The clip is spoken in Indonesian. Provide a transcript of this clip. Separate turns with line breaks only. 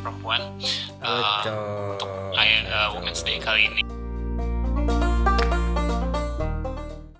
perempuan uh,
Betul.
untuk I- uh, Women's Day kali ini.